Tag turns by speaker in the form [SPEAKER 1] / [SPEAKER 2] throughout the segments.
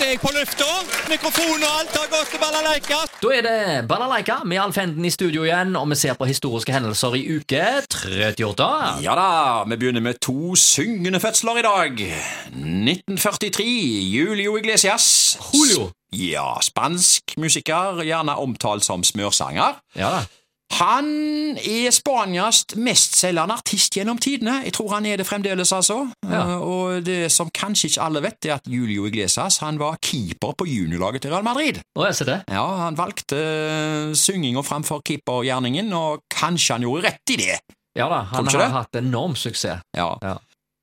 [SPEAKER 1] er jeg på lufta. Mikrofon og alt har gått til balalaika.
[SPEAKER 2] Da er det Balalaika med Alfenden i studio igjen, og vi ser på historiske hendelser i uke 38.
[SPEAKER 3] Ja da, vi begynner med to syngende fødsler i dag. 1943, Julio Iglesias.
[SPEAKER 2] Julio.
[SPEAKER 3] Ja, spansk musiker, gjerne omtalt som smørsanger.
[SPEAKER 2] Ja da.
[SPEAKER 3] Han er Spanias mestselgende artist gjennom tidene. Jeg tror han er det fremdeles, altså.
[SPEAKER 2] Ja.
[SPEAKER 3] Eh, Og det som kanskje ikke alle vet, er at Julio Iglesias han var keeper på juniorlaget til Real Madrid.
[SPEAKER 2] Nå er det det.
[SPEAKER 3] Ja, han valgte eh, synginga framfor keepergjerningen, og kanskje han gjorde rett i det.
[SPEAKER 2] Ja da,
[SPEAKER 3] Tror
[SPEAKER 2] han
[SPEAKER 3] du
[SPEAKER 2] har
[SPEAKER 3] ikke det?
[SPEAKER 2] hatt enorm suksess.
[SPEAKER 3] Ja.
[SPEAKER 2] Ja.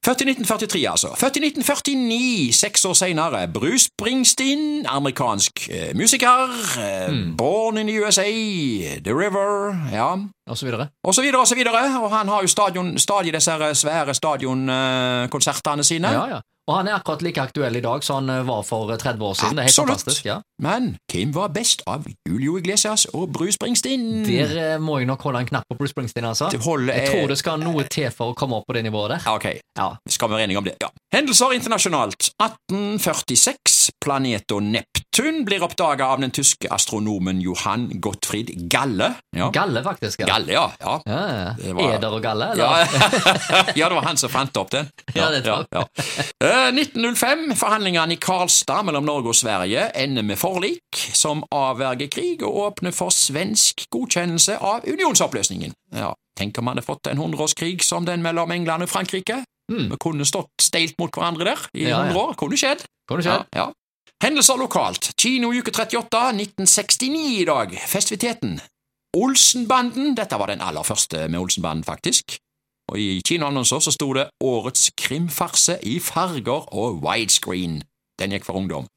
[SPEAKER 3] Født i 1943, altså. Født i 1949, seks år senere. Bruce Springsteen, amerikansk eh, musiker. Eh,
[SPEAKER 2] Hmm.
[SPEAKER 3] Born in the USA, The River, ja.
[SPEAKER 2] Og så videre.
[SPEAKER 3] Og så videre og så videre. Og han har jo stadion, stadig disse her svære stadionkonsertene sine.
[SPEAKER 2] Ja, ja. Og han er akkurat like aktuell i dag som han eh, var for 30 år siden. Det er helt
[SPEAKER 3] Absolutt.
[SPEAKER 2] fantastisk. Ja.
[SPEAKER 3] Men hvem var best av Julio Iglesias og Bruce Springsteen?
[SPEAKER 2] Der eh, må jeg nok holde en knapp på Bruce Springsteen, altså.
[SPEAKER 3] Mm. Det holder
[SPEAKER 2] Jeg tror det skal noe til for å komme opp på det nivået der.
[SPEAKER 3] eh, Ja, Ok,
[SPEAKER 2] Ja.
[SPEAKER 3] skal vi være enige om det? Ja. Hendelser internasjonalt. 1846. Planeten Neptun blir oppdaga av den tyske astronomen Johan Gottfried Galle. Ja.
[SPEAKER 2] Galle, faktisk. Ja.
[SPEAKER 3] Galle, ja. ja.
[SPEAKER 2] Ja.
[SPEAKER 3] Det var-
[SPEAKER 2] Eder og galle, eller?
[SPEAKER 3] Ja. ja, det var han som fant opp den.
[SPEAKER 2] Ja, det tror jeg.
[SPEAKER 3] ja, ja. Eh, 1905. Forhandlingene i Karlstad mellom Norge og Sverige ender med forlik som avverger krig og åpner for svensk godkjennelse av unionsoppløsningen. Ja, Tenk om man hadde fått en hundreårskrig som den mellom England og Frankrike.
[SPEAKER 2] Mm.
[SPEAKER 3] Vi kunne stått steilt mot hverandre der i
[SPEAKER 2] Ja, ja.
[SPEAKER 3] 100 år. Kunne skjedd.
[SPEAKER 2] Kan du se?
[SPEAKER 3] Ja, ja. Hendelser lokalt. Kino uke 38, 1969 i dag. Festiviteten. Olsenbanden. Dette var den aller første med Olsenbanden, faktisk. Og I kinoannonser så sto det Årets krimfarse i farger og widescreen. Den gikk for ungdom.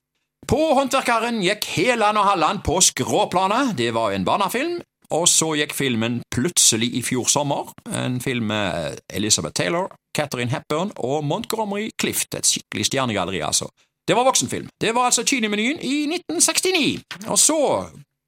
[SPEAKER 3] På Håndverkeren gikk Heland og Halland på skråplanet. Det var jo en barnefilm. Og så gikk filmen plutselig i fjor sommer. En film med Elizabeth Taylor, Catherine Hepburn og Montgomery Clift. Et skikkelig stjernegalleri, altså. Det var voksenfilm. Det var altså kinemenyen i 1969. Og så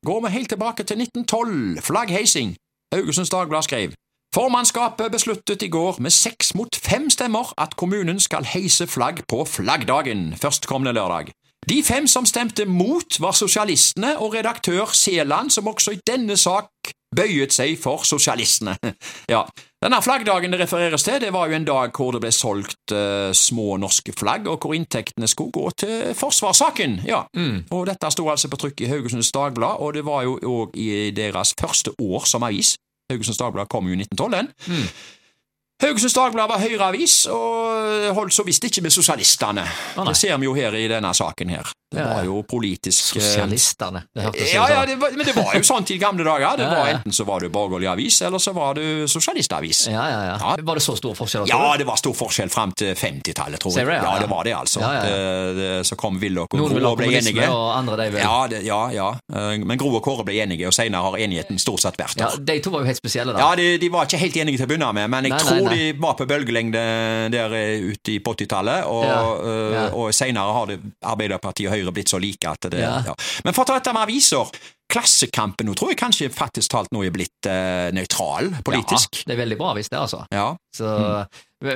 [SPEAKER 3] går vi helt tilbake til 1912. Flaggheising. Haugesunds Dagblad skrev Formannskapet besluttet i går med seks mot fem stemmer at kommunen skal heise flagg på flaggdagen førstkommende lørdag. De fem som stemte mot, var sosialistene og redaktør Seland, som også i denne sak bøyet seg for sosialistene. ja, Denne flaggdagen det refereres til, det var jo en dag hvor det ble solgt eh, små norske flagg, og hvor inntektene skulle gå til forsvarssaken. Ja.
[SPEAKER 2] Mm.
[SPEAKER 3] Og Dette sto altså på trykk i Haugesunds Dagblad, og det var jo òg i deres første år som avis. Haugesunds Dagblad kom jo i 1912, den.
[SPEAKER 2] Mm.
[SPEAKER 3] Haugesunds Dagblad var høyreavis, og holdt så visst ikke med sosialistene.
[SPEAKER 2] nei.
[SPEAKER 3] det ser vi jo her i denne saken her. Det
[SPEAKER 2] Ja, ja.
[SPEAKER 3] var jo politisk eh,
[SPEAKER 2] Sosialistene. Det hørtes
[SPEAKER 3] Ja, ja,
[SPEAKER 2] ut
[SPEAKER 3] det var, men det var jo sånn i gamle dager. Det
[SPEAKER 2] Ja,
[SPEAKER 3] var
[SPEAKER 2] ja.
[SPEAKER 3] Enten så var du borgerlig avis, eller så var du sosialistavis.
[SPEAKER 2] som. Ja, ja, ja.
[SPEAKER 3] Ja.
[SPEAKER 2] Var det så stor forskjell? tror
[SPEAKER 3] Ja,
[SPEAKER 2] du?
[SPEAKER 3] det var stor forskjell fram til 50-tallet, tror
[SPEAKER 2] Ser
[SPEAKER 3] jeg.
[SPEAKER 2] du det, ja,
[SPEAKER 3] Ja,
[SPEAKER 2] ja.
[SPEAKER 3] det var det, altså.
[SPEAKER 2] Ja, ja,
[SPEAKER 3] Det- det- Så kom Willoch og
[SPEAKER 2] Noen vil
[SPEAKER 3] Gro
[SPEAKER 2] ha
[SPEAKER 3] og ble
[SPEAKER 2] kommunisme,
[SPEAKER 3] enige.
[SPEAKER 2] og andre de vil
[SPEAKER 3] Ja, det, ja, ja. Eh, Men Gro og Kåre ble enige, og senere har enigheten stort sett vært
[SPEAKER 2] Ja,
[SPEAKER 3] der.
[SPEAKER 2] De to var jo helt spesielle, da.
[SPEAKER 3] Ja, de, de var ikke helt enige til å begynne med, men jeg
[SPEAKER 2] Nei, nei,
[SPEAKER 3] tror
[SPEAKER 2] nei.
[SPEAKER 3] de var på bølgelengde der eh, ute i 80-tallet, og,
[SPEAKER 2] Ja,
[SPEAKER 3] eh,
[SPEAKER 2] ja.
[SPEAKER 3] og senere har det Arbeiderpartiet og Høyre blitt så like at det
[SPEAKER 2] Ja.
[SPEAKER 3] ja. Men for å ta dette med aviser, Klassekampen nå tror jeg kanskje faktisk talt nå er blitt eh, nøytral politisk.
[SPEAKER 2] Ja, det er veldig bra hvis det, altså.
[SPEAKER 3] Ja.
[SPEAKER 2] Så,
[SPEAKER 3] Mm.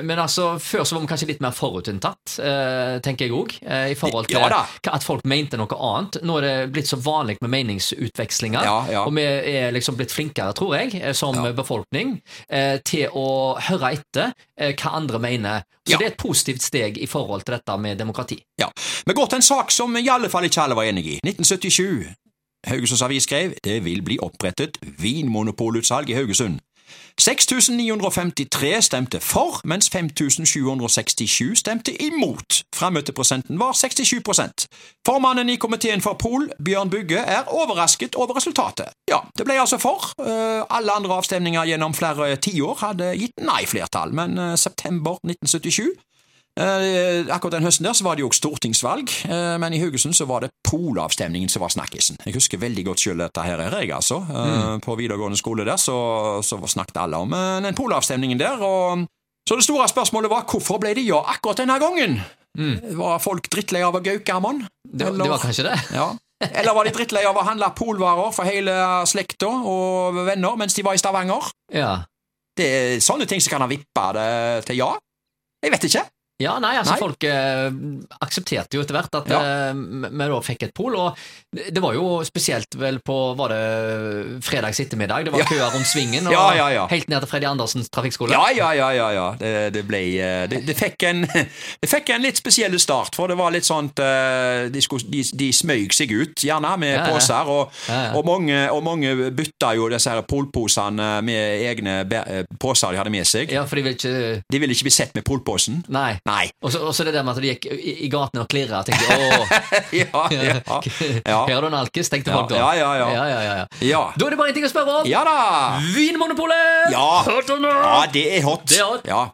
[SPEAKER 2] Men altså, før så var vi kanskje litt mer forutinntatt, eh, tenker jeg òg, eh, i forhold til
[SPEAKER 3] Ja da.
[SPEAKER 2] hva- at folk mente noe annet. Nå er det blitt så vanlig med meningsutvekslinger,
[SPEAKER 3] Ja, ja.
[SPEAKER 2] og vi er liksom blitt flinkere, tror jeg, eh, som
[SPEAKER 3] Ja.
[SPEAKER 2] befolkning, eh, til å høre etter eh, hva andre mener. Så
[SPEAKER 3] Ja.
[SPEAKER 2] det er et positivt steg i forhold til dette med demokrati.
[SPEAKER 3] Ja. Vi går til en sak som i alle fall ikke alle var enig i. 1977. Haugesunds Avis skrev det vil bli opprettet vinmonopolutsalg i Haugesund. 6953 stemte for, mens 5767 stemte imot. Frammøteprosenten var 67 Formannen i komiteen for Pol, Bjørn Bugge, er overrasket over resultatet. Ja, det ble altså for. Eh, Alle andre avstemninger gjennom flere tiår hadde gitt nei-flertall, men eh, september 1977 Eh, akkurat den høsten der så var det jo også stortingsvalg, eh, men i Haugesund så var det polavstemningen som var snakkisen. Jeg husker veldig godt selv dette her, er jeg altså. Eh, På videregående skole der så, så snakket alle om eh, den polavstemningen der, og så det store spørsmålet var hvorfor ble det ja akkurat denne gangen? Var folk drittlei av Gaukammon?
[SPEAKER 2] Det, var- det var kanskje det?
[SPEAKER 3] Ja. Eller var de drittlei av å handle polvarer for hele slekta og venner mens de var i Stavanger?
[SPEAKER 2] Ja.
[SPEAKER 3] Det er sånne ting som kan ha vippa det til ja. Jeg vet ikke.
[SPEAKER 2] Ja, nei, altså
[SPEAKER 3] Nei.
[SPEAKER 2] folk eh, aksepterte jo etter hvert at
[SPEAKER 3] Ja.
[SPEAKER 2] eh, vi da fikk et pol, og det det var jo spesielt vel på, var det fredags ettermiddag, det var
[SPEAKER 3] Ja.
[SPEAKER 2] køer rundt svingen, og
[SPEAKER 3] Ja, ja, ja.
[SPEAKER 2] helt ned til Freddy Andersens trafikkskole.
[SPEAKER 3] Ja, ja, ja, ja, ja. Det, det ble eh, det, det, fikk en, det fikk en litt spesiell start, for det var litt sånn eh, De, skulle- de, de smøg seg ut, gjerne, med
[SPEAKER 2] Ja, ja.
[SPEAKER 3] poser, og,
[SPEAKER 2] Ja, ja.
[SPEAKER 3] og mange, og mange bytta jo disse her polposene med egne bæ- eh, poser de hadde med seg.
[SPEAKER 2] Ja, for de vil ikke,
[SPEAKER 3] De ville ikke bli sett med polposen.
[SPEAKER 2] nei.
[SPEAKER 3] Nei.
[SPEAKER 2] Og så og så det der med at de gikk i, i gatene og klirret, tenkte jeg, åh,
[SPEAKER 3] Ja, ja, ja.
[SPEAKER 2] her er du en alkis, tenkte folk da.
[SPEAKER 3] Ja, ja, ja.
[SPEAKER 2] ja, ja, ja.
[SPEAKER 3] Ja,
[SPEAKER 2] Da er det bare en ting å spørre om.
[SPEAKER 3] ja da!
[SPEAKER 2] Vinmonopolet!
[SPEAKER 3] Ja.
[SPEAKER 2] Hørte du nå?
[SPEAKER 3] Ja, det er hot.
[SPEAKER 2] Det er hot.
[SPEAKER 3] Ja.